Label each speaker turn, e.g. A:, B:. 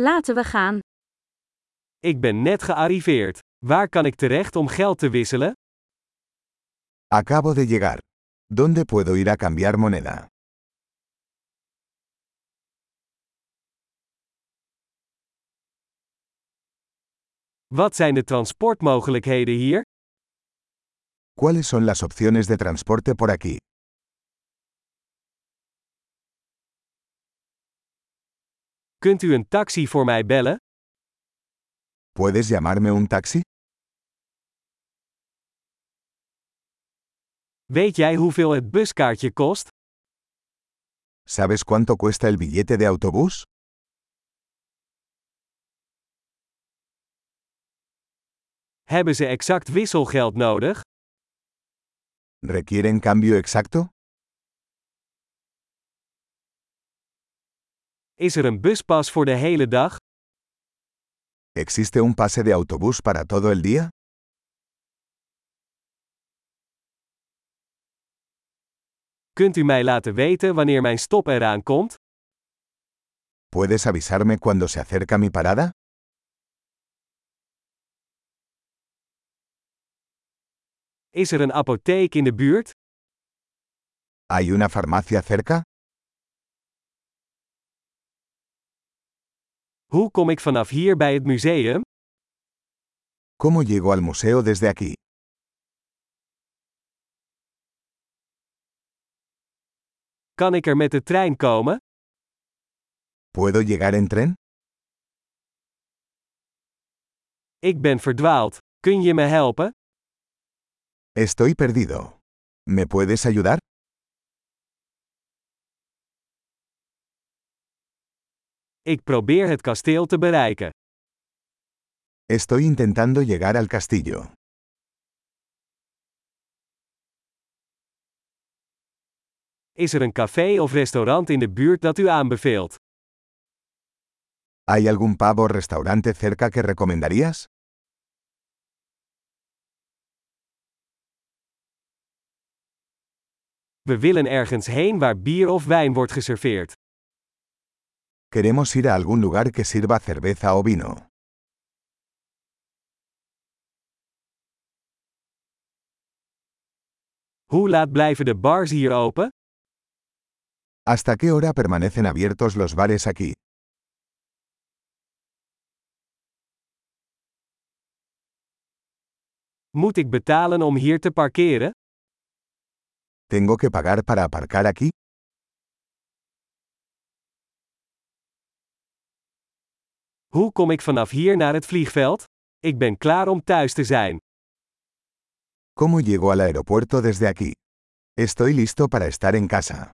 A: Laten we gaan.
B: Ik ben net gearriveerd. Waar kan ik terecht om geld te wisselen?
C: Acabo de llegar. ¿Dónde puedo ir a cambiar moneda?
B: Wat zijn de transportmogelijkheden hier?
C: ¿Cuáles son las opciones de transporte por aquí?
B: Kunt u een taxi voor mij bellen?
C: ¿Puedes llamarme un taxi?
B: Weet jij hoeveel het buskaartje kost?
C: ¿Sabes cuánto cuesta el billete de autobús?
B: Hebben ze exact wisselgeld nodig?
C: ¿Requieren cambio exacto?
B: Is er een buspas voor de hele dag?
C: ¿Existe un pase de autobús para todo el día?
B: Kunt u mij laten weten wanneer mijn stop eraan komt?
C: ¿Puedes avisarme cuando se acerca mi parada?
B: Is er een apotheek in de buurt?
C: ¿Hay una farmacia cerca?
B: Hoe kom ik vanaf hier bij het museum?
C: ¿Cómo llego al museo desde aquí?
B: Kan ik er met de trein komen?
C: ¿Puedo llegar en tren?
B: Ik ben verdwaald. Kun je me helpen?
C: Estoy perdido. ¿Me puedes ayudar?
B: Ik probeer het kasteel te bereiken.
C: Estoy intentando llegar al castillo.
B: Is er een café of restaurant in de buurt dat u aanbeveelt?
C: ¿Hay algún pavo o restaurante cerca que recomendarías?
B: We willen ergens heen waar bier of wijn wordt geserveerd.
C: Queremos ir a algún lugar que sirva cerveza o vino.
B: Hoe laat blijven de bars hier open?
C: ¿Hasta qué hora permanecen abiertos los bares aquí?
B: Moet ik betalen om hier te parkeren?
C: ¿Tengo que pagar para aparcar aquí?
B: Hoe kom ik vanaf hier naar het vliegveld? Ik ben klaar om thuis te zijn.
C: ¿Cómo llego al aeropuerto desde aquí? Estoy listo para estar en casa.